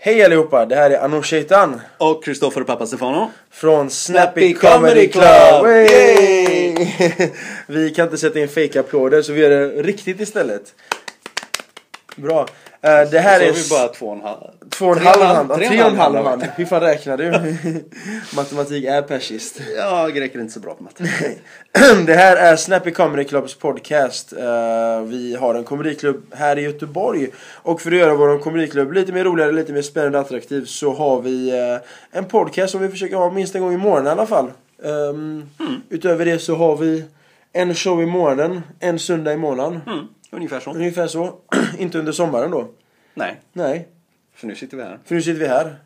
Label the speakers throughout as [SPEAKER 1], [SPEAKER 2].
[SPEAKER 1] Hej allihopa, det här är Anor Shaitan
[SPEAKER 2] Och Kristoffer Pappa Stefano.
[SPEAKER 1] från Snappy
[SPEAKER 2] Snappy
[SPEAKER 1] Comedy
[SPEAKER 2] Comedy
[SPEAKER 1] Club.
[SPEAKER 2] Club.
[SPEAKER 1] Yay! vi kan inte sätta in fake applåder så vi gör det riktigt istället. Bra. Eh, det här
[SPEAKER 2] så
[SPEAKER 1] är
[SPEAKER 2] har vi bara två och en halv.
[SPEAKER 1] två och en
[SPEAKER 2] tre och
[SPEAKER 1] halv
[SPEAKER 2] en halv-
[SPEAKER 1] hand. Ja,
[SPEAKER 2] tre och
[SPEAKER 1] Tre och en halv
[SPEAKER 2] hand.
[SPEAKER 1] hand. Hur fan räknar du? Matematik är persiskt.
[SPEAKER 2] Ja, greker är inte så bra på matte.
[SPEAKER 1] det här är Snappy Comedy Clubs podcast. Eh, vi har en komediklubb här i Göteborg. Och för att göra vår komediklubb lite mer roligare, lite mer spännande och attraktiv så har vi eh, en podcast som vi försöker ha minst en gång i månaden i alla fall. Ehm,
[SPEAKER 2] Mm.
[SPEAKER 1] Utöver det så har vi en show i månaden, en söndag i månaden.
[SPEAKER 2] Mm, ungefär så.
[SPEAKER 1] Ungefär så. Inte under sommaren då.
[SPEAKER 2] Nej,
[SPEAKER 1] Nej,
[SPEAKER 2] för nu sitter vi här.
[SPEAKER 1] för nu sitter vi här.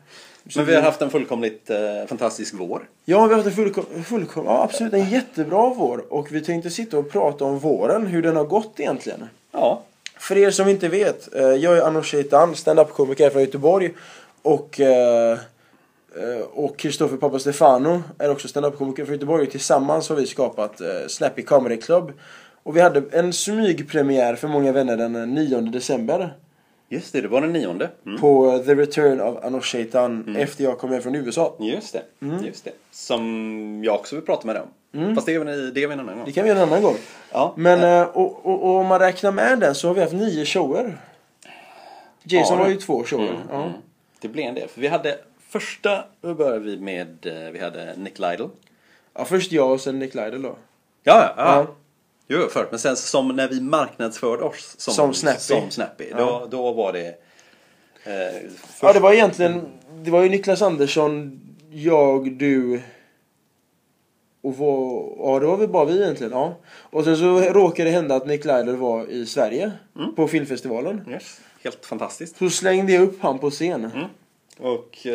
[SPEAKER 2] Men vi har haft en fullkomligt eh, fantastisk vår.
[SPEAKER 1] Ja, vi har haft en fullkom- fullkom- ja, absolut en jättebra vår. Och vi tänkte sitta och prata om våren, hur den har gått egentligen.
[SPEAKER 2] Ja,
[SPEAKER 1] För er som inte vet, eh, jag är Anor Shaitan, standup-komiker från Göteborg. Och eh, eh, och Kristoffer Pappa Stefano är också standup-komiker från Göteborg. Och tillsammans har vi skapat eh, Snappy Comedy Club. Och vi hade en smygpremiär för många vänner den eh, 9 december.
[SPEAKER 2] just det. Det var den nionde. Mm.
[SPEAKER 1] På eh, The Return of Anor Shaitan efter jag kom hem från USA.
[SPEAKER 2] Just det. Just det. Som jag också vill prata med dig om. Fast det är vi Mm. det är vi en annan
[SPEAKER 1] Det
[SPEAKER 2] gång.
[SPEAKER 1] kan vi göra en annan gång.
[SPEAKER 2] Ja,
[SPEAKER 1] Men eh, och, och, och om man räknar med den så har vi haft nio shower. Jason
[SPEAKER 2] Ja, det-
[SPEAKER 1] har ju två
[SPEAKER 2] eh,
[SPEAKER 1] shower. ja.
[SPEAKER 2] mm, det blev en del. För vi hade första, då började vi med, eh, vi hade Nick Lidle.
[SPEAKER 1] ja, först jag och sen Nick Lidell då.
[SPEAKER 2] Ja, ja. ja.
[SPEAKER 1] Ja.
[SPEAKER 2] Jo, förut. Men sen som när vi marknadsförde oss som,
[SPEAKER 1] Som Snappy.
[SPEAKER 2] som Snappy, då, då var det... Eh,
[SPEAKER 1] Ja, det var egentligen... Det var ju Niklas Andersson, jag, du... Och var, ja, det var väl bara vi egentligen. Ja. Och sen så råkade det hända att Nick Lidell var i Sverige
[SPEAKER 2] Mm.
[SPEAKER 1] på filmfestivalen.
[SPEAKER 2] Yes. Helt fantastiskt.
[SPEAKER 1] Så slängde jag upp han på scen.
[SPEAKER 2] Och... eh,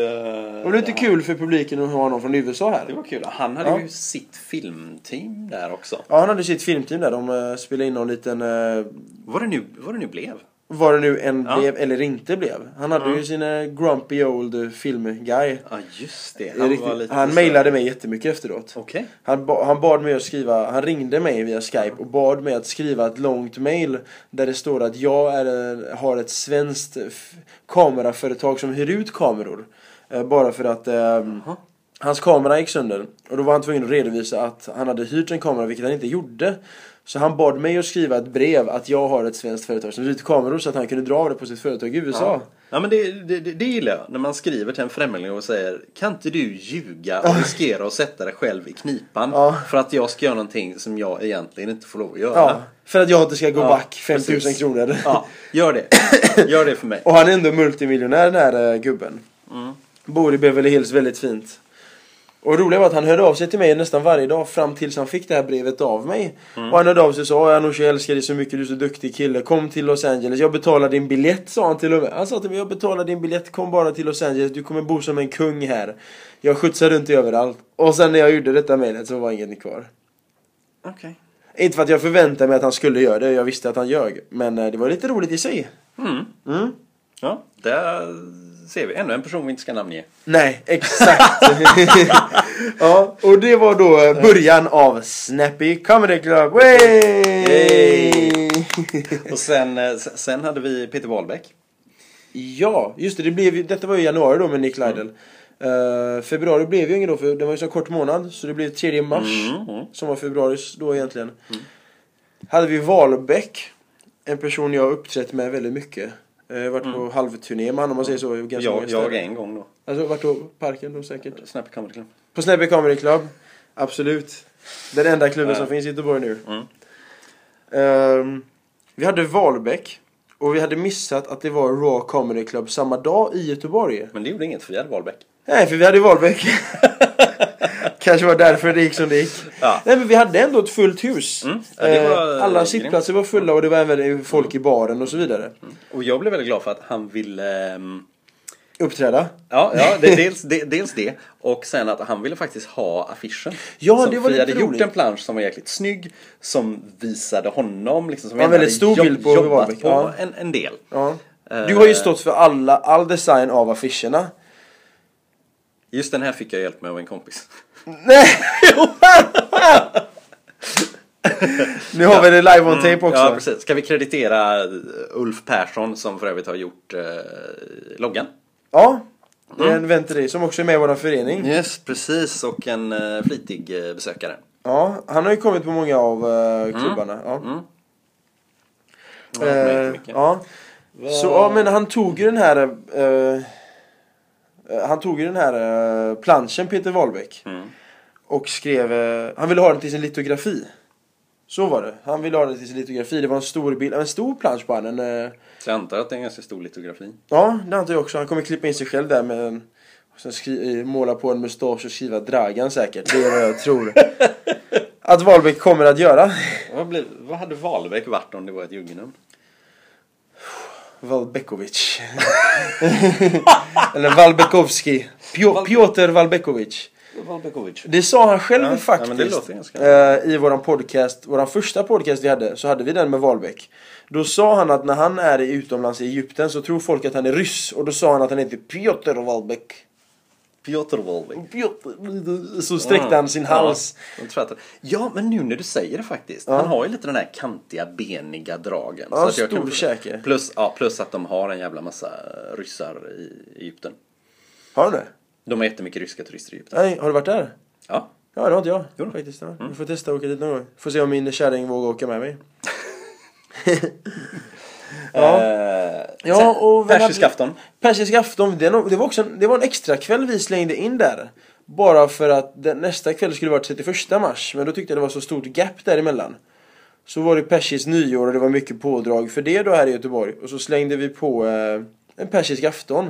[SPEAKER 1] Det var lite kul för publiken att ha någon från USA här.
[SPEAKER 2] Det var kul. Han hade
[SPEAKER 1] Ja.
[SPEAKER 2] ju sitt filmteam där också.
[SPEAKER 1] Ja, han hade sitt filmteam där. De eh, spelade in någon liten... eh,
[SPEAKER 2] Vad det nu, vad det nu blev.
[SPEAKER 1] Vad det nu än
[SPEAKER 2] Ja.
[SPEAKER 1] blev eller inte blev. Han hade ju sin eh, grumpy old eh, filmguy.
[SPEAKER 2] Ja, just det.
[SPEAKER 1] Han,
[SPEAKER 2] var lite
[SPEAKER 1] han
[SPEAKER 2] så-
[SPEAKER 1] mejlade mig jättemycket efteråt.
[SPEAKER 2] Okej.
[SPEAKER 1] Han, ba- han bad mig att skriva, han ringde mig via Skype och bad mig att skriva ett långt mail där det står att jag är, har ett svenskt f- kameraföretag som hyr ut kameror. Eh, bara för att ehm, hans kamera gick sönder. Och då var han tvungen att redovisa att han hade hyrt en kamera, vilket han inte gjorde. Så han bad mig att skriva ett brev att jag har ett svenskt företag som hyr ut kameror så att han kunde dra av det på sitt företag i USA.
[SPEAKER 2] Ja, men det, det, det det gillar jag. När man skriver till en främling och säger Kan inte du ljuga och riskera att sätta dig själv i knipan
[SPEAKER 1] Ja.
[SPEAKER 2] för att jag ska göra någonting som jag egentligen inte får lov att göra?
[SPEAKER 1] Ja, för att jag inte ska gå
[SPEAKER 2] Ja,
[SPEAKER 1] back 5000
[SPEAKER 2] precis.
[SPEAKER 1] kronor.
[SPEAKER 2] Ja, gör det. Gör det för mig.
[SPEAKER 1] Och han är ändå multimiljonär den här eh, gubben. Bor i Beverly Hills väldigt fint. Och det roliga var att han hörde av sig till mig nästan varje dag fram tills han fick det här brevet av mig. Och han hörde av sig och sa "Åh, Anoush jag älskar dig så mycket, du är så duktig kille. Kom till Los Angeles, jag betalar din biljett sa han till och med. Han sa till mig jag betalar din biljett, kom bara till Los Angeles, du kommer bo som en kung här. Jag skjutsar runt dig överallt. Och sen när jag gjorde detta mejlet så var inget kvar.
[SPEAKER 2] Okej.
[SPEAKER 1] Inte för att jag förväntade mig att han skulle göra det, jag visste att han ljög. Men eh, det var lite roligt i sig.
[SPEAKER 2] Mm.
[SPEAKER 1] Mm.
[SPEAKER 2] Ja, där ser vi. Ännu en person vi inte ska namnge.
[SPEAKER 1] Nej, exakt. ja, och det var då eh, början av Snappy Comedy Club. Way!
[SPEAKER 2] Yay! Och sen, eh, s- sen hade vi Peter Wahlbeck.
[SPEAKER 1] ja, just det. det blev, ju- detta var ju i januari då med Nick Lidell. Eh, februari blev ju ingen då, för det var ju så kort månad. Så det blev 3 mars,
[SPEAKER 2] Mm, mm.
[SPEAKER 1] som var februaris då egentligen. Hade vi Wahlbeck, en person jag har uppträtt med väldigt mycket. Eh, Jag har varit på halvturné med honom om man säger så. i Ganska många
[SPEAKER 2] Jag, jag
[SPEAKER 1] ställen.
[SPEAKER 2] en gång då.
[SPEAKER 1] Alltså varit på parken då säkert.
[SPEAKER 2] Snappy Comedy Club.
[SPEAKER 1] På Snäbby Comedy Club. Absolut. Den enda klubben
[SPEAKER 2] Ja.
[SPEAKER 1] som finns i Göteborg nu.
[SPEAKER 2] Mm.
[SPEAKER 1] Ehm, vi hade Wahlbeck. Och vi hade missat att det var Raw Comedy Club samma dag i Göteborg.
[SPEAKER 2] Men det gjorde inget för vi hade Wahlbeck.
[SPEAKER 1] Nej, för vi hade Wahlbeck. Kanske var därför det gick som det gick.
[SPEAKER 2] Ja.
[SPEAKER 1] Nej, men vi hade ändå ett fullt hus.
[SPEAKER 2] Mm. Ja, det var,
[SPEAKER 1] Eh,
[SPEAKER 2] eh,
[SPEAKER 1] Alla
[SPEAKER 2] grymt.
[SPEAKER 1] sittplatser var fulla och det var även folk i baren och så vidare.
[SPEAKER 2] Och jag blev väldigt glad för att han ville... ehm,
[SPEAKER 1] Uppträda.
[SPEAKER 2] Ja, ja det, dels, det, dels det. Och sen att han ville faktiskt ha affischen.
[SPEAKER 1] Ja,
[SPEAKER 2] som
[SPEAKER 1] det var
[SPEAKER 2] vi
[SPEAKER 1] lite
[SPEAKER 2] hade gjort
[SPEAKER 1] roligt.
[SPEAKER 2] en plansch som var jäkligt snygg. Som visade honom. Liksom, som
[SPEAKER 1] Ja,
[SPEAKER 2] vi ändå
[SPEAKER 1] väldigt
[SPEAKER 2] hade
[SPEAKER 1] stor bild på
[SPEAKER 2] jobbat
[SPEAKER 1] Wahlbeck,
[SPEAKER 2] på
[SPEAKER 1] ja.
[SPEAKER 2] en, en del.
[SPEAKER 1] Ja. Du
[SPEAKER 2] Eh.
[SPEAKER 1] har ju stått för alla, all design av affischerna.
[SPEAKER 2] Just den här fick jag hjälp med av en kompis.
[SPEAKER 1] Nej! nu har vi det live on tape också.
[SPEAKER 2] Mm, Ja, precis. Ska vi kreditera Ulf Persson som för övrigt har gjort eh, loggan?
[SPEAKER 1] Ja, det
[SPEAKER 2] Mm.
[SPEAKER 1] är en vän till dig som också är med i vår förening.
[SPEAKER 2] Yes, precis. Och en eh, flitig eh, besökare.
[SPEAKER 1] Ja, han har ju kommit på många av eh, klubbarna. Ja.
[SPEAKER 2] Mm.
[SPEAKER 1] Eh,
[SPEAKER 2] Ja, mycket.
[SPEAKER 1] ja. Så ja, men han tog ju den här eh, eh, Han tog ju den här eh, planschen Peter Wahlbeck
[SPEAKER 2] Mm.
[SPEAKER 1] och skrev eh, Han ville ha den till sin litografi. Så var det. Han ville ha den till sin litografi. Det var en stor bild, en stor plansch på han. En, eh,
[SPEAKER 2] Så jag antar att det är en ganska stor litografi.
[SPEAKER 1] ja, det antar jag också. Han kommer klippa in sig själv där med en och sen skri- eh, måla på en mustasch och skriva Dragan säkert. Det är vad jag tror att Wahlbeck kommer att göra.
[SPEAKER 2] Vad, blev, vad hade Wahlbeck varit om det var ett juggenamn?
[SPEAKER 1] Valbekovic. Eller Valbekovski. Pio- Piotr Valbekovic.
[SPEAKER 2] Wahlbeckovic.
[SPEAKER 1] Det sa han själv
[SPEAKER 2] Ja, ja, men det
[SPEAKER 1] faktiskt.
[SPEAKER 2] låter ganska-
[SPEAKER 1] eh, I våran podcast, våran första podcast vi hade, så hade vi den med Wahlbeck. Då sa han att när han är i utomlands i Egypten så tror folk att han är ryss. Och då sa han att han heter Piotr Wahlbeck.
[SPEAKER 2] Piotr Wahlbeck. Ah,
[SPEAKER 1] Piotr. Så sträckte han sin hals.
[SPEAKER 2] Ja, jag tror att- ja, men nu när du säger det faktiskt. Han har ju lite den här kantiga, beniga dragen.
[SPEAKER 1] Ja, stor käke.
[SPEAKER 2] Plus, ja, plus att de har en jävla massa ryssar i Egypten.
[SPEAKER 1] Har du det?
[SPEAKER 2] De har jättemycket ryska turister i Egypten.
[SPEAKER 1] Nej, har du varit där?
[SPEAKER 2] Ja.
[SPEAKER 1] Ja, det har inte jag
[SPEAKER 2] Jo då.
[SPEAKER 1] faktiskt. Ja. Vi får testa att åka dit någon gång. Får se om min kärring vågar åka med mig. ja.
[SPEAKER 2] Eh,
[SPEAKER 1] Ja,
[SPEAKER 2] sen-
[SPEAKER 1] och vem
[SPEAKER 2] Persisk
[SPEAKER 1] hade-
[SPEAKER 2] afton.
[SPEAKER 1] Persisk afton, det nog- det var, också en, det var en extra kväll vi slängde in där. Bara för att den, nästa kväll skulle vara 31 mars, men då tyckte jag det var så stort gap däremellan. Så var det persisk nyår och det var mycket pådrag för det då här i Göteborg. Och så slängde vi på eh, en persisk afton.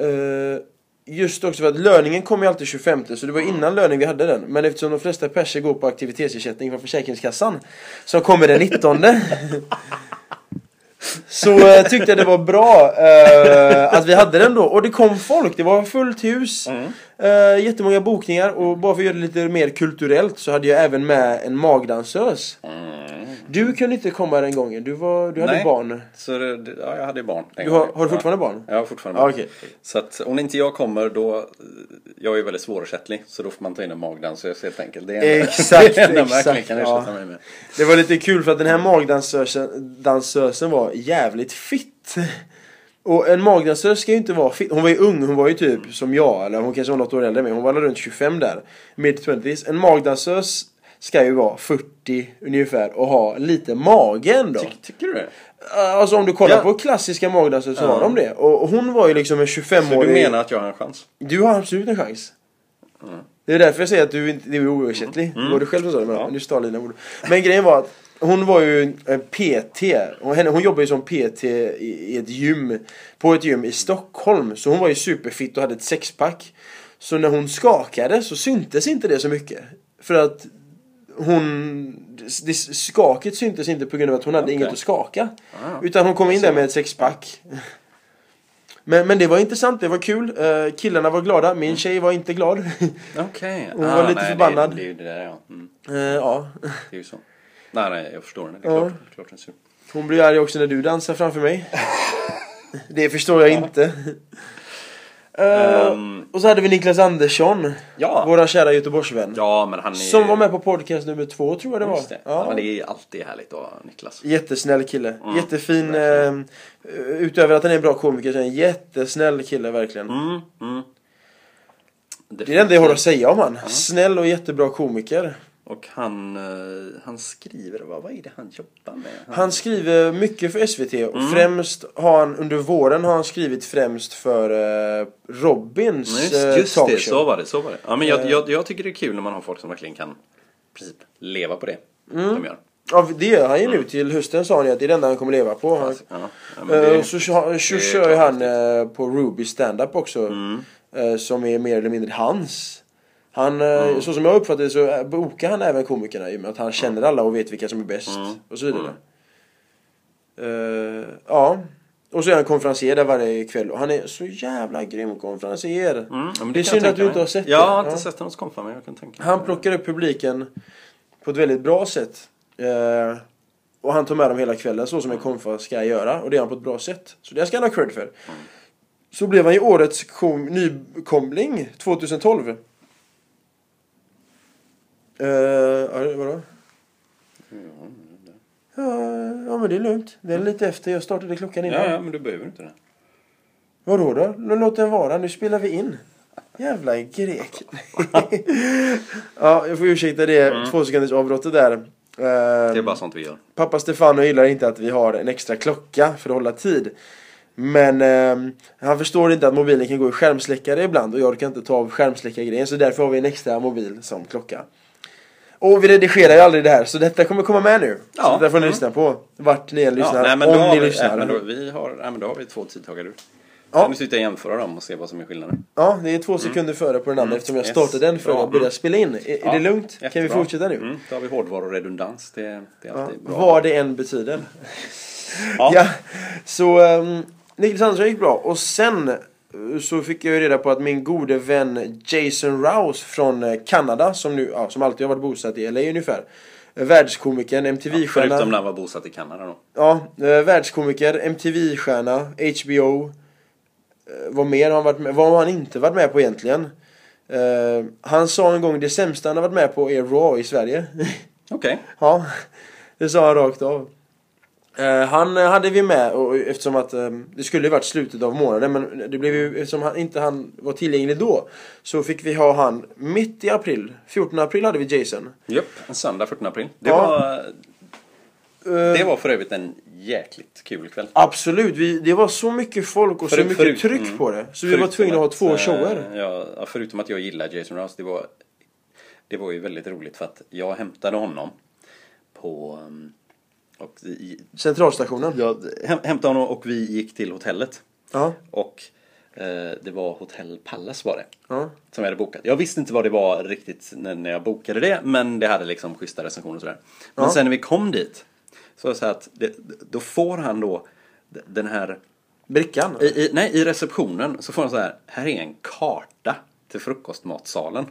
[SPEAKER 1] Eh, just också för att löningen kom ju alltid 25 så det var innan löning vi hade den. Men eftersom de flesta perser går på aktivitetsersättning från Försäkringskassan som kommer den 19 Så eh, tyckte jag det var bra eh, att vi hade den då. Och det kom folk, det var fullt hus.
[SPEAKER 2] Mm.
[SPEAKER 1] Eh, jättemånga bokningar. Och bara för att göra det lite mer kulturellt så hade jag även med en magdansös.
[SPEAKER 2] Mm.
[SPEAKER 1] Du kunde inte komma den gången, du, var, du hade
[SPEAKER 2] Nej.
[SPEAKER 1] barn.
[SPEAKER 2] Så det, det- ja, jag hade ju barn. en
[SPEAKER 1] Du har,
[SPEAKER 2] gång.
[SPEAKER 1] har du
[SPEAKER 2] Ja.
[SPEAKER 1] fortfarande barn?
[SPEAKER 2] Ja, fortfarande.
[SPEAKER 1] Ja, okej.
[SPEAKER 2] Så att om inte jag kommer då, eh, jag är ju väldigt svårersättlig, så då får man ta in en magdansös helt enkelt. Det är
[SPEAKER 1] Exakt,
[SPEAKER 2] det är enda man
[SPEAKER 1] exakt,
[SPEAKER 2] verkligen kan ersätta
[SPEAKER 1] ja.
[SPEAKER 2] mig med.
[SPEAKER 1] Det var lite kul för att den här magdansösen dansösen var jävligt fitt. Och en magdansös ska ju inte vara fitt. Hon var ju ung, hon var ju typ som jag. Eller hon kanske var något år äldre än mig. Hon var väl runt 25 där. Mid 20s. En magdansös ska ju vara 40 ungefär och ha lite mage ändå.
[SPEAKER 2] Ty, tycker du det?
[SPEAKER 1] Alltså om du kollar
[SPEAKER 2] Ja.
[SPEAKER 1] på klassiska magdansöser så har de det. Och och hon var ju liksom en 25-årig...
[SPEAKER 2] Så du menar att jag har en chans?
[SPEAKER 1] Du har absolut en chans.
[SPEAKER 2] Mm.
[SPEAKER 1] Det är därför jag säger att du inte, du är oersättlig. Det var du själv som sa det, men
[SPEAKER 2] Ja.
[SPEAKER 1] nu stal dina ord. Men grejen var att hon var ju en PT. Hon, henne, hon jobbade ju som PT i, i ett gym, på ett gym i Stockholm. Så hon var ju superfit och hade ett sexpack. Så när hon skakade så syntes inte det så mycket. För att hon... Det, skaket syntes inte på grund av att hon hade
[SPEAKER 2] Okej.
[SPEAKER 1] inget att skaka.
[SPEAKER 2] Ah.
[SPEAKER 1] Utan hon kom in där med ett sexpack. Men, men det var intressant, det var kul. Eh, killarna var glada, min tjej var inte glad.
[SPEAKER 2] Okej. Ah,
[SPEAKER 1] Hon var lite
[SPEAKER 2] nej,
[SPEAKER 1] förbannad.
[SPEAKER 2] Det, det är ju det där ja. Mm,
[SPEAKER 1] Eh, ja.
[SPEAKER 2] det är ju så. Nej, nej, jag förstår det. Det är
[SPEAKER 1] Ja.
[SPEAKER 2] klart, det är klart den är sur.
[SPEAKER 1] Hon blir arg också när du dansar framför mig. Det förstår jag inte. Eh,
[SPEAKER 2] Ehm,
[SPEAKER 1] och så hade vi Niklas Andersson,
[SPEAKER 2] ja.
[SPEAKER 1] våra kära Göteborgsvän.
[SPEAKER 2] ja, men han är...
[SPEAKER 1] Som var med på podcast nummer två tror jag det var.
[SPEAKER 2] Just det. Ja.
[SPEAKER 1] Ja.
[SPEAKER 2] men det är ju alltid härligt då, Niklas.
[SPEAKER 1] Jättesnäll kille.
[SPEAKER 2] Mm,
[SPEAKER 1] Jättefin. Eh, utöver att han är en bra komiker så är han en jättesnäll kille verkligen.
[SPEAKER 2] Mm, mm.
[SPEAKER 1] Det är det enda jag har att säga om han. Snäll och jättebra komiker.
[SPEAKER 2] Och han, eh, han skriver, vad, vad är det han jobbar med? Han,
[SPEAKER 1] Han skriver mycket för SVT och
[SPEAKER 2] Mm.
[SPEAKER 1] främst har han under våren har han skrivit främst för eh, Robins
[SPEAKER 2] just,
[SPEAKER 1] eh,
[SPEAKER 2] just
[SPEAKER 1] talkshow.
[SPEAKER 2] det, så var det. Så var det. Ja, men jag,
[SPEAKER 1] Eh.
[SPEAKER 2] jag, jag tycker det är kul när man har folk som verkligen kan i princip, leva på det
[SPEAKER 1] Mm.
[SPEAKER 2] de gör.
[SPEAKER 1] Ja, det gör han ju nu till hösten sa han ju att det är det enda han kommer leva på. Han,
[SPEAKER 2] Alltså, Mm. ja, ja, men
[SPEAKER 1] eh,
[SPEAKER 2] det,
[SPEAKER 1] och så kör- så
[SPEAKER 2] det är Mm,
[SPEAKER 1] kör ju
[SPEAKER 2] klart
[SPEAKER 1] han eh, på Ruby stand-up också.
[SPEAKER 2] Mm.
[SPEAKER 1] Eh, som är mer eller mindre hans. Han, eh, Så som jag uppfattar det så eh, bokar han även komikerna i och med att han känner alla och vet vilka som är bäst.
[SPEAKER 2] Mm.
[SPEAKER 1] Och så vidare. Eh, ja. Och så är han konferencier där varje kväll och han är så jävla grym konferencier.
[SPEAKER 2] mm, ja, men
[SPEAKER 1] det är
[SPEAKER 2] kan jag
[SPEAKER 1] synd
[SPEAKER 2] tänka
[SPEAKER 1] att du
[SPEAKER 2] mig.
[SPEAKER 1] inte har sett
[SPEAKER 2] jag
[SPEAKER 1] det.
[SPEAKER 2] har inte
[SPEAKER 1] Ja.
[SPEAKER 2] sett honom skompa men jag kan tänka mig.
[SPEAKER 1] Han plockar upp publiken på ett väldigt bra sätt. Eh, och han tar med dem hela kvällen så som en konfa ska göra. Och det gör han på ett bra sätt. Så det ska han ha cred för. Så blev han ju årets kom, nykomling 2012. Eh, ja, det- vadå? Ja, ja, men det Mm. är lugnt. Det är lite efter. Jag startade klockan innan.
[SPEAKER 2] Ja, ja, men du behöver inte det.
[SPEAKER 1] Vadå då? Lå- Låt den vara, nu spelar vi in. Jävla grek. ja, jag får ursäkta det två sekunders avbrottet där. Eh,
[SPEAKER 2] Mm. Det är bara sånt vi gör.
[SPEAKER 1] Pappa Stefano gillar inte att vi har en extra klocka för att hålla tid. Men ehm, han förstår inte att mobilen kan gå i skärmsläckare ibland och jag orkar inte ta av skärmsläckargrejen så därför har vi en extra mobil som klocka. Och vi redigerar ju aldrig det här så detta kommer komma med nu.
[SPEAKER 2] Ja.
[SPEAKER 1] Så detta får ni
[SPEAKER 2] Mm.
[SPEAKER 1] lyssna på. Vart ni än lyssnar.
[SPEAKER 2] ja, nej, men
[SPEAKER 1] om
[SPEAKER 2] då har
[SPEAKER 1] ni
[SPEAKER 2] vi,
[SPEAKER 1] lyssnar.
[SPEAKER 2] Nej, men då, vi har, nej, men då har vi två tidtagare. ur.
[SPEAKER 1] Ja.
[SPEAKER 2] Sen måste vi sitta och jämföra dem och se vad som är skillnaden.
[SPEAKER 1] Ja, det är två sekunder före på den andra eftersom jag
[SPEAKER 2] Mm. Yes.
[SPEAKER 1] startade den för
[SPEAKER 2] Bra.
[SPEAKER 1] att börja spela in. Är, är
[SPEAKER 2] Ja,
[SPEAKER 1] det lugnt? Kan vi
[SPEAKER 2] jättebra.
[SPEAKER 1] fortsätta nu?
[SPEAKER 2] Mm, då har vi hårdvarorredundans. Det, det är
[SPEAKER 1] Ja,
[SPEAKER 2] alltid bra.
[SPEAKER 1] vad det än betyder.
[SPEAKER 2] Ja.
[SPEAKER 1] Ja, så um, Niklas Andersson gick bra och sen eh, så fick jag ju reda på att min gode vän Jason Rouse från eh, Kanada som nu, ja, som alltid har varit bosatt i LA ungefär. eh, Världskomikern, MTV-stjärna.
[SPEAKER 2] Förutom när han var bosatt i Kanada då.
[SPEAKER 1] Ja, eh, världskomiker, MTV-stjärna, HBO. Eh, Vad mer har han varit med Vad har han inte varit med på egentligen? Eh, han sa en gång det sämsta han har varit med på är Raw i Sverige.
[SPEAKER 2] Okej.
[SPEAKER 1] ja, det sa han rakt av. Eh, han eh, hade vi med och, och eftersom att eh, det skulle ju varit slutet av månaden men det blev ju, eftersom han, inte han var tillgänglig då så fick vi ha han mitt i april. 14 april hade vi Jason.
[SPEAKER 2] Japp, en söndag 14 april. Det,
[SPEAKER 1] Ja.
[SPEAKER 2] var,
[SPEAKER 1] Eh,
[SPEAKER 2] det var för övrigt en jäkligt kul kväll.
[SPEAKER 1] Absolut, vi, det var så mycket folk och så
[SPEAKER 2] Förut-
[SPEAKER 1] mycket
[SPEAKER 2] förut-
[SPEAKER 1] tryck
[SPEAKER 2] mm.
[SPEAKER 1] på det. Så vi
[SPEAKER 2] Förutom
[SPEAKER 1] var tvungna att ha
[SPEAKER 2] att,
[SPEAKER 1] två
[SPEAKER 2] eh,
[SPEAKER 1] shower.
[SPEAKER 2] Ja, ja, förutom att jag gillar Jason Rouse, det var, det var ju väldigt roligt för att jag hämtade honom på... um, Och, i-
[SPEAKER 1] Centralstationen. Ja.
[SPEAKER 2] jag häm- hämtade honom och vi gick till hotellet. Och eh, det var Hotel Palace var det.
[SPEAKER 1] Ja.
[SPEAKER 2] Som jag hade bokat. Jag visste inte vad det var riktigt när, när jag bokade det. Men det hade liksom schyssta recensioner och sådär. Men
[SPEAKER 1] Ja.
[SPEAKER 2] sen när vi kom dit. Så var det så här att det, då får han då d- den här.
[SPEAKER 1] Brickan.
[SPEAKER 2] I, i, nej, i receptionen så får han så här. Här är en karta till frukostmatsalen.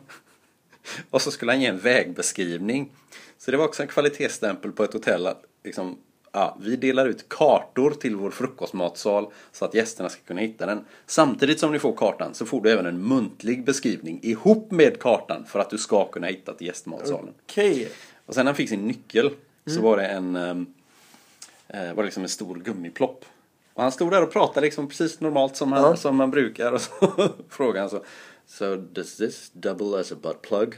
[SPEAKER 2] Och så skulle han ge en vägbeskrivning. Så det var också en kvalitetsstämpel på ett hotell. Att liksom, ja, vi delar ut kartor till vår frukostmatsal så att gästerna ska kunna hitta den. Samtidigt som ni får kartan så får du även en muntlig beskrivning ihop med kartan för att du ska kunna hitta till gästmatsalen.
[SPEAKER 1] Okej.
[SPEAKER 2] Och sen när han fick sin nyckel
[SPEAKER 1] Mm.
[SPEAKER 2] så var det en ehm, eh, var det liksom en stor gummiplopp. Och han stod där och pratade liksom precis normalt som, han,
[SPEAKER 1] Ja.
[SPEAKER 2] som man brukar och så frågade han så So does this double as a butt plug?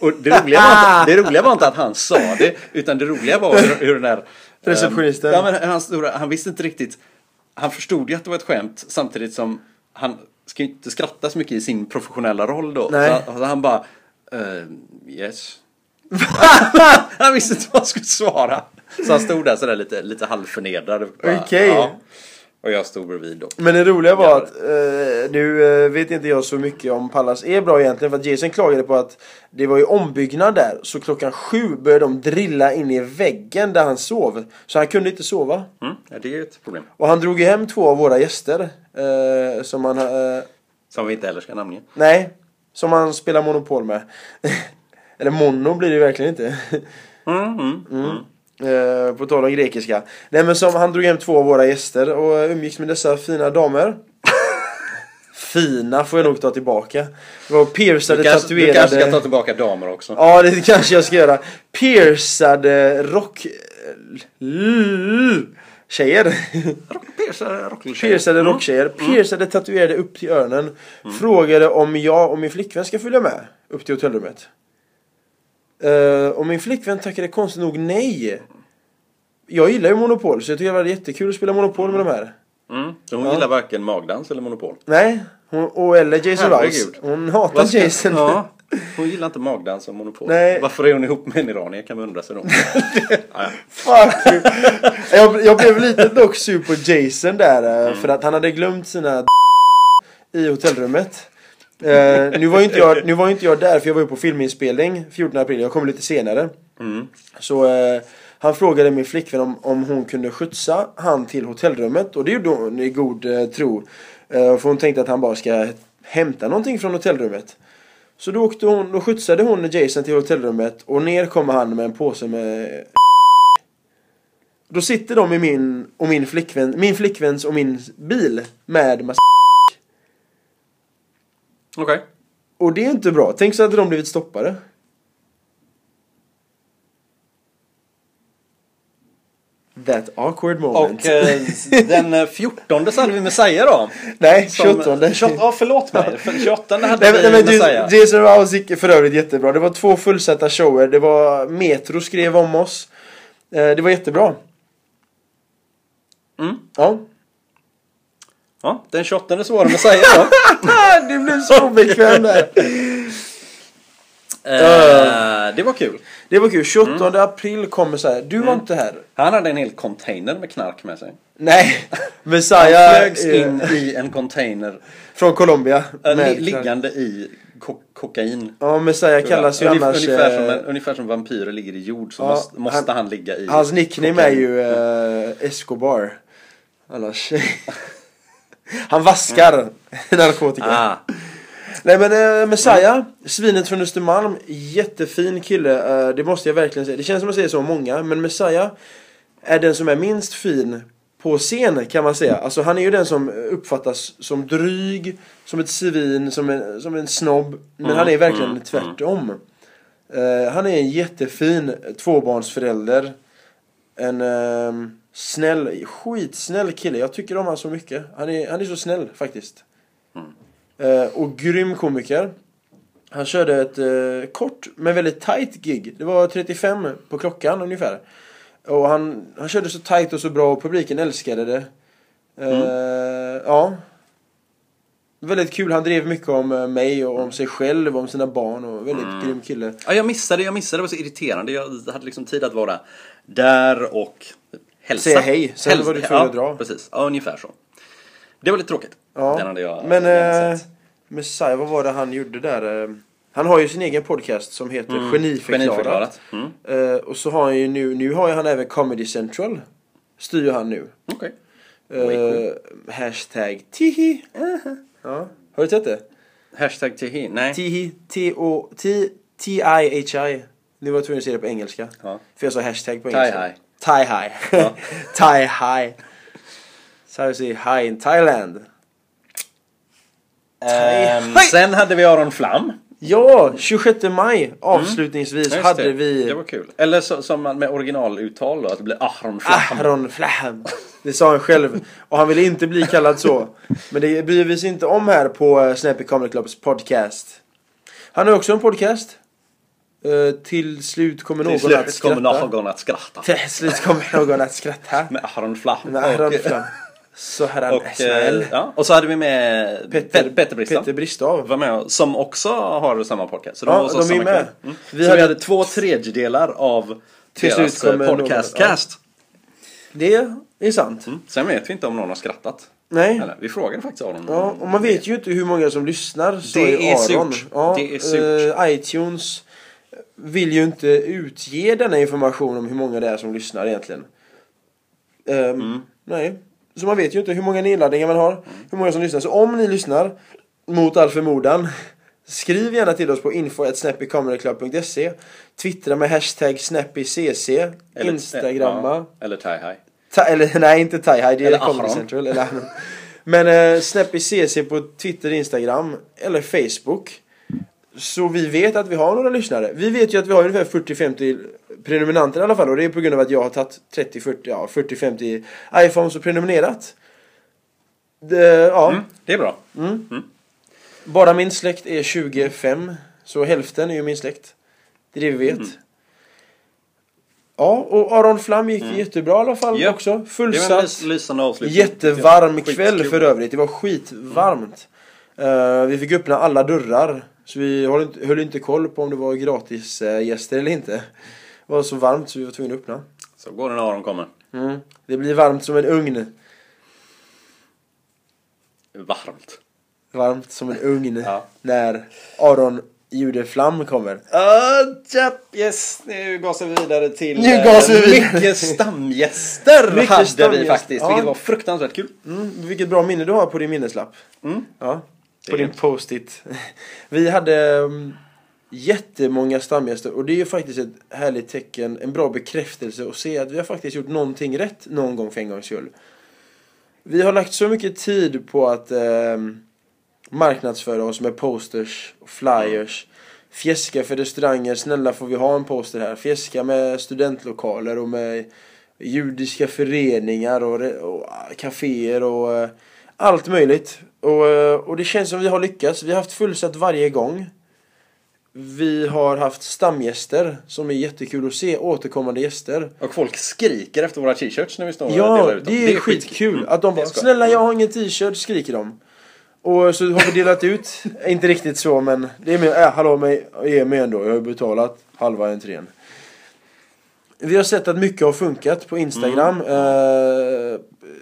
[SPEAKER 2] och det roliga, var inte, det roliga var inte att han sa det utan det roliga var hur, hur den där ehm,
[SPEAKER 1] Receptionisten.
[SPEAKER 2] Ja, men han, stod, där- han visste inte riktigt han förstod ju att det var ett skämt samtidigt som han ska ju inte skratta så mycket i sin professionella roll då.
[SPEAKER 1] Nej.
[SPEAKER 2] Så, han- så han bara ehm, Yes. han visste inte vad han skulle svara. Så han stod där sådär lite, lite halvförnedrad. Bara,
[SPEAKER 1] Okej.
[SPEAKER 2] Och jag stod bredvid då.
[SPEAKER 1] Men det roliga var
[SPEAKER 2] Ja.
[SPEAKER 1] att eh, nu eh, vet inte jag så mycket om Pallas är bra egentligen för att Jason klagade på att det var ju ombyggnad där så klockan sju började de drilla in i väggen där han sov. Så han kunde inte sova.
[SPEAKER 2] Mm, ja, det är ju ett problem.
[SPEAKER 1] Och han drog ju hem två av våra gäster. Eh, som han... Eh,
[SPEAKER 2] Som vi inte heller ska namnge.
[SPEAKER 1] nej, som han spelar Monopol med. Eller Mono blir det ju verkligen inte.
[SPEAKER 2] Mm, mm, mm.
[SPEAKER 1] Eh, på tal om grekiska. Nej men som han drog hem två av våra gäster och eh, umgicks med dessa fina damer. fina får jag nog ta tillbaka. Det var piercade,
[SPEAKER 2] Du, kanske, du
[SPEAKER 1] tatuerade.
[SPEAKER 2] kanske ska ta tillbaka damer också.
[SPEAKER 1] Ja det kanske jag ska göra. Piercade rock... l- Tjejer.
[SPEAKER 2] Piercade rocktjejer.
[SPEAKER 1] Piercade rocktjejer.
[SPEAKER 2] Mm.
[SPEAKER 1] Piercade tatuerade upp till öronen. Frågade om jag och min flickvän ska följa med upp till hotellrummet. Eh, och min flickvän tackade konstigt nog nej. Jag gillar ju Monopol så jag tyckte det var jättekul att spela Monopol med de här.
[SPEAKER 2] Mm. Så hon
[SPEAKER 1] Ja.
[SPEAKER 2] gillar varken magdans eller monopol.
[SPEAKER 1] Nej, hon, och eller Jason Rouse.
[SPEAKER 2] Herregud.
[SPEAKER 1] Hon hatar
[SPEAKER 2] Vad ska-
[SPEAKER 1] Jason.
[SPEAKER 2] Ja, hon gillar inte magdans och monopol.
[SPEAKER 1] Nej.
[SPEAKER 2] Varför är hon ihop med en iranier kan man undra sig då. Ja, ja.
[SPEAKER 1] Fuck you. jag, jag blev lite dock sur på Jason där eh, för att han hade glömt sina d- i hotellrummet. Eh, nu, var ju inte jag, nu var ju inte jag där för jag var ju på filminspelning 14 april. Jag kom lite senare.
[SPEAKER 2] Mm.
[SPEAKER 1] Så eh, han frågade min flickvän om, om hon kunde skjutsa han till hotellrummet och det gjorde hon i god eh, tro. Eh, för hon tänkte att han bara ska hämta någonting från hotellrummet. Så då, åkte hon, då skjutsade hon Jason till hotellrummet och ner kommer han med en påse med då sitter de i min och min flickvän, min flickväns och min bil med massa
[SPEAKER 2] Okej.
[SPEAKER 1] Och det är inte bra. Tänk så hade de blivit stoppade. That awkward moment.
[SPEAKER 2] Och eh, den eh, 14 så hade vi Messiah då.
[SPEAKER 1] Nej,
[SPEAKER 2] Som-
[SPEAKER 1] 28.
[SPEAKER 2] 28 Ja, förlåt mig. För 28 hade
[SPEAKER 1] Nej,
[SPEAKER 2] vi
[SPEAKER 1] men, nej, men du,
[SPEAKER 2] Messiah.
[SPEAKER 1] Jason Rouse gick för övrigt jättebra. Det var två fullsatta shower. Det var Metro skrev om oss. Eh, Det var jättebra.
[SPEAKER 2] Mm.
[SPEAKER 1] Ja.
[SPEAKER 2] Ja, den 28 så var det Messiah då.
[SPEAKER 1] du blev så obekväm där.
[SPEAKER 2] eh, det var kul.
[SPEAKER 1] Det var
[SPEAKER 2] Mm.
[SPEAKER 1] kul. 28 april kommer så här. Du var inte här.
[SPEAKER 2] Han hade en hel container med knark med sig.
[SPEAKER 1] Nej.
[SPEAKER 2] Han
[SPEAKER 1] Messiah
[SPEAKER 2] flögs
[SPEAKER 1] eh,
[SPEAKER 2] in i en container.
[SPEAKER 1] från Colombia. med-
[SPEAKER 2] eh, li- liggande i ko- kokain.
[SPEAKER 1] Ja, Messiah kallas ju
[SPEAKER 2] Ungef-
[SPEAKER 1] annars...
[SPEAKER 2] ungefär, som,
[SPEAKER 1] eh,
[SPEAKER 2] en- ungefär som vampyrer ligger i jord så
[SPEAKER 1] ja,
[SPEAKER 2] måste,
[SPEAKER 1] han-
[SPEAKER 2] måste han, ligga i
[SPEAKER 1] Hans nickname är
[SPEAKER 2] kokain.
[SPEAKER 1] ju eh, Escobar. Annars. Han vaskar narkotika.
[SPEAKER 2] Ah,
[SPEAKER 1] Nej men eh, Messiah, svinet från Östermalm, jättefin kille. Eh, det måste jag verkligen säga. Det känns som att säga så om många, men Messiah är den som är minst fin på scen kan man säga. Alltså han är ju den som uppfattas som dryg, som ett svin, som en, som en snobb. Men
[SPEAKER 2] Mm,
[SPEAKER 1] han är verkligen
[SPEAKER 2] mm,
[SPEAKER 1] tvärtom. Eh, han är en jättefin tvåbarnsförälder. En eh, snäll, skitsnäll kille. Jag tycker om han så mycket. Han är, han är så snäll faktiskt. Eh, och grym komiker. Han körde ett eh, kort men väldigt tight gig. Det var 35 på klockan ungefär. Och han, han körde så tight och så bra och publiken älskade det. Eh,
[SPEAKER 2] Mm.
[SPEAKER 1] Ja. Väldigt kul. Han drev mycket om eh, mig och om sig själv och om sina barn och väldigt
[SPEAKER 2] Mm.
[SPEAKER 1] grym kille.
[SPEAKER 2] ja, jag missade, jag missade. Det var så irriterande. Jag hade liksom tid att vara där och hälsa.
[SPEAKER 1] Säga hej, sen var du tvungen
[SPEAKER 2] ja,
[SPEAKER 1] att dra.
[SPEAKER 2] Precis, ja, ungefär så. Det var lite tråkigt.
[SPEAKER 1] Ja.
[SPEAKER 2] Den hade jag
[SPEAKER 1] men
[SPEAKER 2] gärna
[SPEAKER 1] eh,
[SPEAKER 2] sett.
[SPEAKER 1] Messiah, vad var det han gjorde där? Eh, Han har ju sin egen podcast som heter Geniförklarat.
[SPEAKER 2] Mm. Geniförklarat. Mm.
[SPEAKER 1] Eh, och så har han ju nu, nu har ju han även Comedy Central. Styr han nu.
[SPEAKER 2] Okej.
[SPEAKER 1] Eh, hashtag tihi. Ja. Har du sett det?
[SPEAKER 2] Hashtag Tihi. Nej.
[SPEAKER 1] Tihi, T-O, T- T-I-H-I. Nu var jag tvungen att säga det på engelska.
[SPEAKER 2] Ja.
[SPEAKER 1] För jag sa hashtag på
[SPEAKER 2] Tie
[SPEAKER 1] engelska.
[SPEAKER 2] high.
[SPEAKER 1] Tie-hi.
[SPEAKER 2] Ja.
[SPEAKER 1] Tie-hi. Så här säger hi in Thailand.
[SPEAKER 2] Ehm,
[SPEAKER 1] Hej!
[SPEAKER 2] sen hade vi Aron Flam.
[SPEAKER 1] Ja, 26 maj avslutningsvis
[SPEAKER 2] Mm. Just
[SPEAKER 1] hade
[SPEAKER 2] det. Det
[SPEAKER 1] vi
[SPEAKER 2] var kul. Eller så, som man- med originaluttal då, att det blir Aron Flam.
[SPEAKER 1] Ahron Flaham. Det sa han själv. Och han ville inte bli kallad så. Men det bryr vi oss inte om här på eh, Snappy Comedy Clubs podcast. Han har också en podcast. Eh, till slut kommer någon
[SPEAKER 2] Till slut
[SPEAKER 1] att
[SPEAKER 2] kommer
[SPEAKER 1] skratta.
[SPEAKER 2] någon att skratta.
[SPEAKER 1] Till slut kommer någon att skratta.
[SPEAKER 2] Med Aron Flam.
[SPEAKER 1] Med Ahron
[SPEAKER 2] Och-
[SPEAKER 1] Flaham. Så här är
[SPEAKER 2] Och,
[SPEAKER 1] han
[SPEAKER 2] eh,
[SPEAKER 1] snäll.
[SPEAKER 2] ja, och så hade vi med Petter, Petter Bristan.
[SPEAKER 1] Petter Bristav.
[SPEAKER 2] Var med, och- som också har samma podcast. Så de
[SPEAKER 1] Ja,
[SPEAKER 2] var hos
[SPEAKER 1] de
[SPEAKER 2] oss
[SPEAKER 1] är
[SPEAKER 2] samma
[SPEAKER 1] med.
[SPEAKER 2] kväll. Mm.
[SPEAKER 1] Vi
[SPEAKER 2] så
[SPEAKER 1] hade-
[SPEAKER 2] vi hade två tredjedelar av
[SPEAKER 1] Till
[SPEAKER 2] deras
[SPEAKER 1] slut kommer
[SPEAKER 2] eh,
[SPEAKER 1] någon-
[SPEAKER 2] podcastcast.
[SPEAKER 1] Det är sant.
[SPEAKER 2] Mm. Sen vet vi inte om någon har skrattat.
[SPEAKER 1] Nej.
[SPEAKER 2] Eller, vi frågade faktiskt Aron.
[SPEAKER 1] Ja, och man vet ju inte hur många som lyssnar. Så
[SPEAKER 2] Det är
[SPEAKER 1] Aron.
[SPEAKER 2] surt.
[SPEAKER 1] Ja,
[SPEAKER 2] Det är surt.
[SPEAKER 1] eh, iTunes vill ju inte utge denna information om hur många det är som lyssnar egentligen. Ehm,
[SPEAKER 2] Mm.
[SPEAKER 1] Nej. Så man vet ju inte hur många nedladdningar man har. Hur många som lyssnar. Så om ni lyssnar, mot all förmodan. Skriv gärna till oss på info.snappycomedyclub.se Twittra med hashtag snappycc
[SPEAKER 2] Eller-
[SPEAKER 1] Instagramma
[SPEAKER 2] Ja, eller tie high.
[SPEAKER 1] Ta, eller nej, inte Tie-Hi, det är
[SPEAKER 2] Eller
[SPEAKER 1] Comedy
[SPEAKER 2] Ahram.
[SPEAKER 1] Central. Eller, Ahram. men eh, Snappy CC på Twitter, Instagram eller Facebook. Så vi vet att vi har några lyssnare. Vi vet ju att vi har ungefär 40-50 prenumeranter i alla fall. Och det är på grund av att jag har tagit 30-40, ja 40-50 iPhones och prenumererat. Det, ja,
[SPEAKER 2] Mm, det är bra.
[SPEAKER 1] bara min släkt är 25. Så hälften är ju min släkt. Det är det vi vet.
[SPEAKER 2] Mm.
[SPEAKER 1] Ja, och Aron Flam gick jättebra i alla fall
[SPEAKER 2] Mm. Ja,
[SPEAKER 1] också.
[SPEAKER 2] Det var en
[SPEAKER 1] Fullsatt.
[SPEAKER 2] lys- lysande avslutning.
[SPEAKER 1] Jättevarm
[SPEAKER 2] Skitkul.
[SPEAKER 1] kväll för övrigt. Det var skitvarmt. Eh, vi fick öppna alla dörrar. Så vi höll inte, höll inte koll på om det var gratis eh, gäster eller inte. Det var så varmt så vi var tvungna att öppna.
[SPEAKER 2] Så går det när Aron kommer.
[SPEAKER 1] Mm. Det blir varmt som en ugn.
[SPEAKER 2] Varmt.
[SPEAKER 1] Varmt som en ugn.
[SPEAKER 2] Ja.
[SPEAKER 1] När Aron Judeflam kommer.
[SPEAKER 2] Uh, japp, yes, nu gasar vi vidare till
[SPEAKER 1] Nu
[SPEAKER 2] eh,
[SPEAKER 1] gasar vi vidare.
[SPEAKER 2] mycket stamgäster
[SPEAKER 1] Mycket
[SPEAKER 2] hade
[SPEAKER 1] stamgäster,
[SPEAKER 2] vi faktiskt,
[SPEAKER 1] ja.
[SPEAKER 2] vilket var fruktansvärt kul.
[SPEAKER 1] Mm, vilket bra minne du har på din minneslapp.
[SPEAKER 2] Mm.
[SPEAKER 1] Ja,
[SPEAKER 2] Det
[SPEAKER 1] på
[SPEAKER 2] är
[SPEAKER 1] din post-it. Vi hade mm, jättemånga stamgäster och det är ju faktiskt ett härligt tecken, en bra bekräftelse att se att vi har faktiskt gjort någonting rätt någon gång för en gångs skull. Vi har lagt så mycket tid på att ehm, marknadsföra oss med posters, och flyers, fjäska för restauranger, snälla får vi ha en poster här, fjäska med studentlokaler och med judiska föreningar och, re- och ah, kaféer och eh, allt möjligt. Och, eh, och det känns som vi har lyckats. Vi har haft fullsatt varje gång. Vi har haft stamgäster som är jättekul att se, återkommande gäster.
[SPEAKER 2] Och folk skriker efter våra t-shirts när vi står och
[SPEAKER 1] Ja,
[SPEAKER 2] delar ut dem.
[SPEAKER 1] det är, skitkul
[SPEAKER 2] Mm,
[SPEAKER 1] att de
[SPEAKER 2] det är
[SPEAKER 1] bara
[SPEAKER 2] skoj.
[SPEAKER 1] Snälla jag har ingen t-shirt, skriker de. Och så har vi delat ut, inte riktigt så men det är med, äh, hallå mig, ge mig ändå, jag har ju betalat halva entrén. Vi har sett att mycket har funkat på Instagram.
[SPEAKER 2] Mm.
[SPEAKER 1] Eh,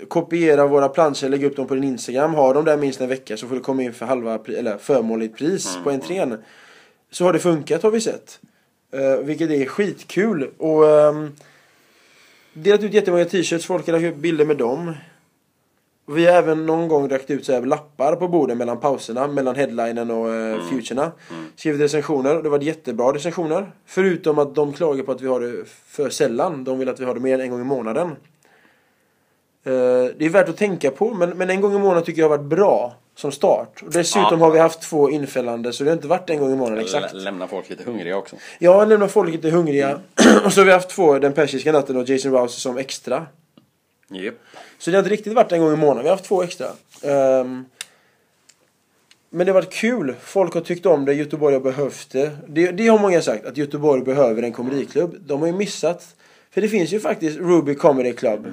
[SPEAKER 1] kopiera våra planscher, lägga upp dem på din Instagram. Har de där minst en vecka så får du komma in för halva, pri- eller förmånligt pris
[SPEAKER 2] Mm.
[SPEAKER 1] på entrén. Så har det funkat har vi sett. Eh, vilket är skitkul. Och ehm, delat ut jättemånga t-shirts, folk har lagt upp bilder med dem. Och Vi har även någon gång räckt ut så här lappar på borden mellan pauserna, mellan headlinen och eh,
[SPEAKER 2] Mm.
[SPEAKER 1] futurerna. Skrivit recensioner och det var jättebra recensioner. Förutom att de klagar på att vi har det för sällan. De vill att vi har det mer än en gång i månaden. Eh, det är värt att tänka på men, men en gång i månaden tycker jag har varit bra som start. Och dessutom
[SPEAKER 2] Ja.
[SPEAKER 1] har vi haft två infällande så det har inte varit en gång i månaden exakt.
[SPEAKER 2] Lä- Lämna folk lite hungriga också.
[SPEAKER 1] Ja, lämna folk lite hungriga. och så har vi haft två Den persiska natten och Jason Rouse som extra.
[SPEAKER 2] Japp.
[SPEAKER 1] Så det har inte riktigt varit en gång i månaden. Vi har haft två extra. Ehm, men det har varit kul. Folk har tyckt om det. Göteborg har behövt det. det. Det har många sagt, att Göteborg behöver en komediklubb. De har ju missat. För det finns ju faktiskt Ruby Comedy Club.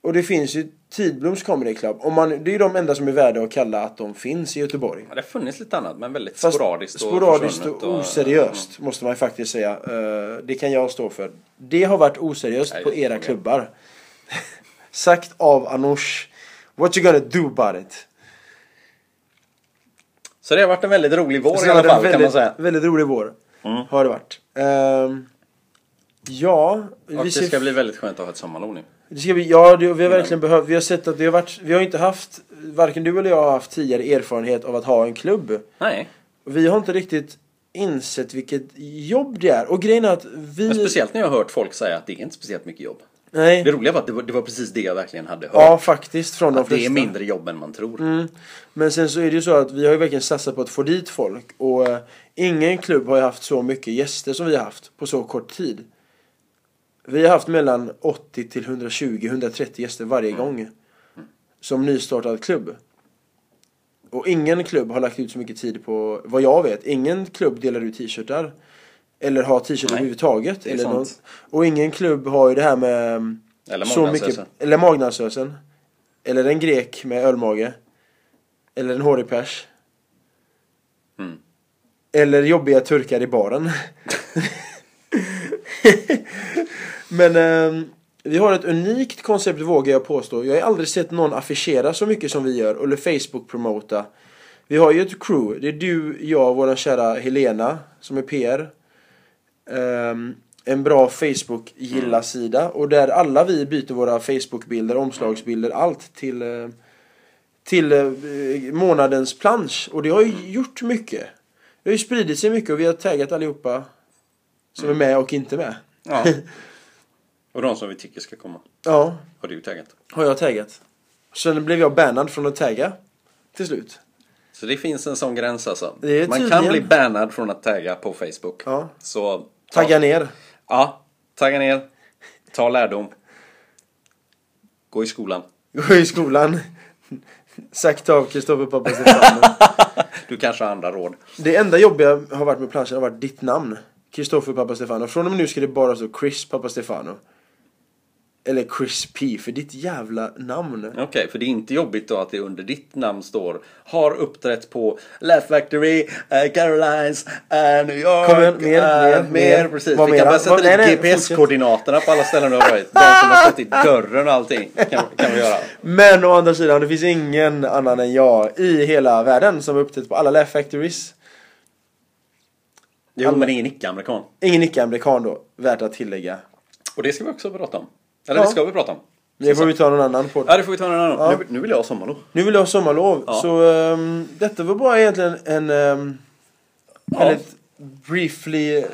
[SPEAKER 1] Och det finns ju Tidbloms Comedy Club. Och man, det är ju de enda som är värda att kalla att de finns i Göteborg.
[SPEAKER 2] Ja, det har funnits lite annat men väldigt
[SPEAKER 1] Fast
[SPEAKER 2] sporadiskt och Mm.
[SPEAKER 1] sporadiskt
[SPEAKER 2] försvunnet
[SPEAKER 1] och, oseriöst måste man ju faktiskt säga. Eh, det kan jag stå för. Det har varit oseriöst
[SPEAKER 2] Nej,
[SPEAKER 1] på
[SPEAKER 2] det
[SPEAKER 1] era
[SPEAKER 2] håller jag.
[SPEAKER 1] klubbar. Sagt av Anoush. What you gonna do about it?
[SPEAKER 2] Mm. Så det har varit en väldigt rolig vår
[SPEAKER 1] Så
[SPEAKER 2] i
[SPEAKER 1] det har
[SPEAKER 2] alla
[SPEAKER 1] varit en
[SPEAKER 2] fall kan
[SPEAKER 1] väldigt,
[SPEAKER 2] man säga.
[SPEAKER 1] väldigt rolig vår.
[SPEAKER 2] Mm.
[SPEAKER 1] Har det varit. Ehm, ja,
[SPEAKER 2] Och det
[SPEAKER 1] ser-
[SPEAKER 2] ska bli väldigt skönt att ha ett sommarlov nu.
[SPEAKER 1] Det ska bli, ja, det, vi har verkligen behövt. Vi har sett att det har varit. Vi har inte haft. Varken du eller jag har haft tidigare erfarenhet av att ha en klubb.
[SPEAKER 2] Nej,
[SPEAKER 1] Vi har inte riktigt insett vilket jobb det är. Och grejen är att vi...
[SPEAKER 2] men speciellt när jag har hört folk säga att det är inte speciellt mycket jobb.
[SPEAKER 1] Nej.
[SPEAKER 2] Det roliga var att det var, det var precis det jag verkligen hade hört.
[SPEAKER 1] Ja, faktiskt. Från de
[SPEAKER 2] att det
[SPEAKER 1] flesta.
[SPEAKER 2] är mindre jobb än man tror.
[SPEAKER 1] Mm. Men sen så är det ju så att vi har ju verkligen satsat på att få dit folk. Och eh, ingen klubb har ju haft så mycket gäster som vi har haft på så kort tid. Vi har haft mellan 80 till 120-130 gäster varje
[SPEAKER 2] Mm.
[SPEAKER 1] gång. Som nystartad klubb. Och ingen klubb har lagt ut så mycket tid på, vad jag vet, ingen klubb delar ut t-shirtar. Eller har t-shirt
[SPEAKER 2] Nej,
[SPEAKER 1] överhuvudtaget.
[SPEAKER 2] det är
[SPEAKER 1] Eller
[SPEAKER 2] sant.
[SPEAKER 1] någon, och ingen klubb har ju det här med... mm,
[SPEAKER 2] Eller
[SPEAKER 1] så
[SPEAKER 2] magdansösen.
[SPEAKER 1] mycket, Eller magdansösen. Eller en grek med ölmage. Eller en hårig pers.
[SPEAKER 2] Mm.
[SPEAKER 1] Eller jobbiga turkar i baren. Men ehm, vi har ett unikt koncept vågar jag påstå. Jag har aldrig sett någon affischera så mycket som vi gör. Eller Facebook-promota. Vi har ju ett crew. Det är du, jag, vår kära Helena som är PR. Ehm, en bra Facebook-gilla-sida. Och där alla vi byter våra Facebook-bilder, omslagsbilder, allt till, eh, till eh, månadens plansch. Och det har ju gjort mycket. Det har ju spridit sig mycket och vi har taggat allihopa som är med och inte med.
[SPEAKER 2] Ja. Och de som vi tycker ska komma
[SPEAKER 1] Ja,
[SPEAKER 2] har du taggat.
[SPEAKER 1] har jag taggat. Sen blev jag bannad från att tagga till slut.
[SPEAKER 2] Så det finns en sån gräns alltså.
[SPEAKER 1] Det är
[SPEAKER 2] Man kan
[SPEAKER 1] tydligen-
[SPEAKER 2] bli bannad från att tagga på Facebook.
[SPEAKER 1] Ja.
[SPEAKER 2] Så ta-
[SPEAKER 1] Tagga ner.
[SPEAKER 2] Ja, tagga ner. Ta lärdom. Gå i skolan.
[SPEAKER 1] Gå i skolan. Sakta av Kristoffer pappa Stefaner.
[SPEAKER 2] Du kanske har andra råd.
[SPEAKER 1] Det enda jobbiga har varit med planschen har varit ditt namn. Kristoffer Pappa Stefano. Från och med nu ska det bara stå Chris Pappa Stefano. Eller Chris P, för ditt jävla namn.
[SPEAKER 2] Okej, för det är inte jobbigt då att det under ditt namn står Har uppträtt på Laugh Factory, eh, Carolines, eh, New York.
[SPEAKER 1] Kom igen, mer,
[SPEAKER 2] eh,
[SPEAKER 1] mer, mer.
[SPEAKER 2] Precis,
[SPEAKER 1] Vad
[SPEAKER 2] vi kan
[SPEAKER 1] mera?
[SPEAKER 2] bara
[SPEAKER 1] Vad- nej,
[SPEAKER 2] sätta
[SPEAKER 1] nej,
[SPEAKER 2] dit GPS-koordinaterna på alla ställen du har varit. De som har stått i dörren och allting kan, kan vi göra.
[SPEAKER 1] Men å andra sidan, det finns ingen annan än jag i hela världen som har upptäckt på alla Laugh Factories.
[SPEAKER 2] Jo, men ingen icke-amerikan.
[SPEAKER 1] Ingen icke-amerikan då, värt att tillägga.
[SPEAKER 2] Och det ska vi också prata om. Eller
[SPEAKER 1] Ja.
[SPEAKER 2] det ska vi prata om.
[SPEAKER 1] Men det får vi ta någon annan podd.
[SPEAKER 2] Ja, det får vi ta en annan
[SPEAKER 1] Ja.
[SPEAKER 2] nu, nu vill jag ha sommarlov.
[SPEAKER 1] Nu vill jag ha sommarlov,
[SPEAKER 2] Ja.
[SPEAKER 1] så ehm, detta var bara egentligen en um,
[SPEAKER 2] Ja.
[SPEAKER 1] väldigt briefly...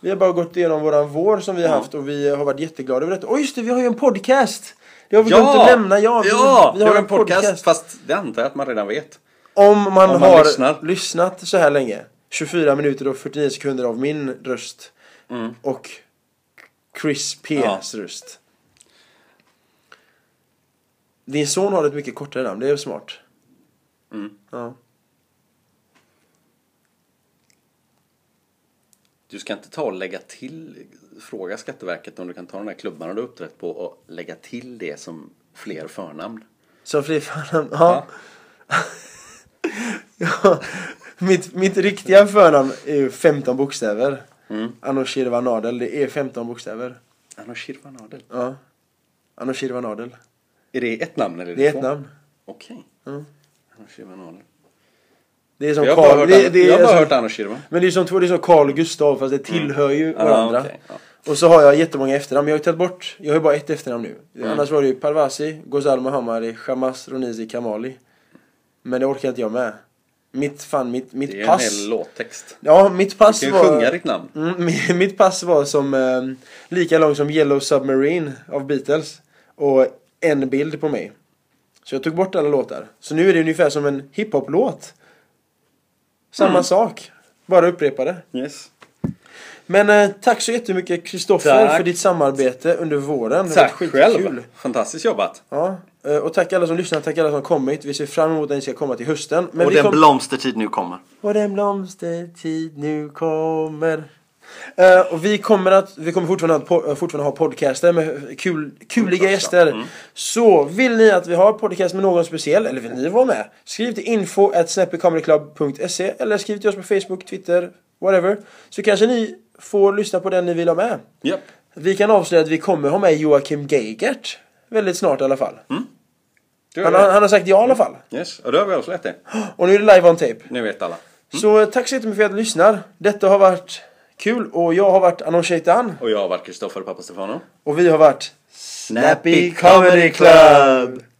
[SPEAKER 1] Vi har bara gått igenom våran vår som vi har
[SPEAKER 2] Ja.
[SPEAKER 1] haft och vi har varit jätteglada över detta. Och just det, vi har ju en podcast! Det har vi glömt
[SPEAKER 2] Ja!
[SPEAKER 1] att nämna, ja! Vi,
[SPEAKER 2] ja!
[SPEAKER 1] vi har en podcast.
[SPEAKER 2] Fast det antar jag att man redan vet.
[SPEAKER 1] Om man,
[SPEAKER 2] Om man
[SPEAKER 1] har
[SPEAKER 2] lyssnar.
[SPEAKER 1] lyssnat så här länge, 24 minuter och 49 sekunder av min röst och Chris P's
[SPEAKER 2] Mm. Ja.
[SPEAKER 1] röst. Din son har ett mycket kortare namn, det är smart.
[SPEAKER 2] Mm.
[SPEAKER 1] Ja.
[SPEAKER 2] Du ska inte ta och lägga till, fråga Skatteverket om du kan ta de där klubbarna du har uppträtt på och lägga till det som fler förnamn.
[SPEAKER 1] Som förnamn? Ja. ja. Mitt, mitt riktiga förnamn är ju 15 bokstäver.
[SPEAKER 2] Mm.
[SPEAKER 1] Anoshir Vanadel, det är 15 bokstäver.
[SPEAKER 2] Anoshir Vanadel.
[SPEAKER 1] Ja. Anoshir Vanadel.
[SPEAKER 2] Är det ett namn eller
[SPEAKER 1] Det är
[SPEAKER 2] två?
[SPEAKER 1] ett namn.
[SPEAKER 2] Okej.
[SPEAKER 1] Ja.
[SPEAKER 2] Anoshir Vanadel.
[SPEAKER 1] Det är som
[SPEAKER 2] Jag har bara
[SPEAKER 1] Carl,
[SPEAKER 2] hört,
[SPEAKER 1] det,
[SPEAKER 2] det,
[SPEAKER 1] det
[SPEAKER 2] jag har
[SPEAKER 1] är
[SPEAKER 2] bara
[SPEAKER 1] som,
[SPEAKER 2] hört Anoshir va?
[SPEAKER 1] Men det är som två, det är som Carl Gustav fast det tillhör ju
[SPEAKER 2] Ah,
[SPEAKER 1] varandra.
[SPEAKER 2] okej, ja.
[SPEAKER 1] Och så har jag jättemånga efternamn, men jag har ju tagit bort, jag har ju bara ett efternamn nu.
[SPEAKER 2] Mm.
[SPEAKER 1] Annars var det ju Parvasi, Ghazal Mohammadi, Shamas Ronizi Kamali. Men det orkar inte jag med. Mitt, fan, mitt, mitt
[SPEAKER 2] Det är
[SPEAKER 1] pass.
[SPEAKER 2] en hel låttext.
[SPEAKER 1] Ja, mitt pass
[SPEAKER 2] Du kan ju
[SPEAKER 1] var...
[SPEAKER 2] sjunga ditt namn.
[SPEAKER 1] Mm, mi- mitt pass var som eh, lika långt som Yellow Submarine av Beatles. Och en bild på mig. Så jag tog bort alla låtar. Så nu är det ungefär som en hiphop-låt. Samma
[SPEAKER 2] Mm.
[SPEAKER 1] sak. Bara upprepa det.
[SPEAKER 2] Yes.
[SPEAKER 1] Men eh, tack så jättemycket Kristoffer
[SPEAKER 2] Tack.
[SPEAKER 1] för ditt samarbete under våren. Det har
[SPEAKER 2] Tack
[SPEAKER 1] varit skitkul.
[SPEAKER 2] själv. Fantastiskt jobbat.
[SPEAKER 1] Ja, eh, och tack alla som lyssnar, tack alla som har kommit. Vi ser fram emot att ni ska komma till hösten. Men
[SPEAKER 2] och
[SPEAKER 1] vi
[SPEAKER 2] den
[SPEAKER 1] kom-
[SPEAKER 2] blomstertid nu kommer.
[SPEAKER 1] och den blomstertid nu kommer. Eh, och vi kommer, att, vi kommer fortfarande, att, po- eh, fortfarande ha podcaster med kul, kuliga gäster.
[SPEAKER 2] Mm.
[SPEAKER 1] Så vill ni att vi har podcast med någon speciell, eller vill ni vara med? Skriv till info at snappycomedyclub.se eller skriv till oss på Facebook, Twitter, whatever. Så kanske ni får lyssna på den ni vill ha med.
[SPEAKER 2] Japp.
[SPEAKER 1] Vi kan avslöja att vi kommer ha med Joakim Geigert. Väldigt snart i alla fall.
[SPEAKER 2] Du
[SPEAKER 1] Han, har- han har sagt ja i alla fall.
[SPEAKER 2] Yes, och då har vi avslöjat det.
[SPEAKER 1] Och nu är det live on tape.
[SPEAKER 2] Nu vet alla.
[SPEAKER 1] Så eh, tack så jättemycket för att du lyssnar. Detta har varit kul och jag har varit Anon Shaitan
[SPEAKER 2] Och jag har varit Kristoffer Papastefano.
[SPEAKER 1] och vi har varit
[SPEAKER 2] Snappy Comedy Club!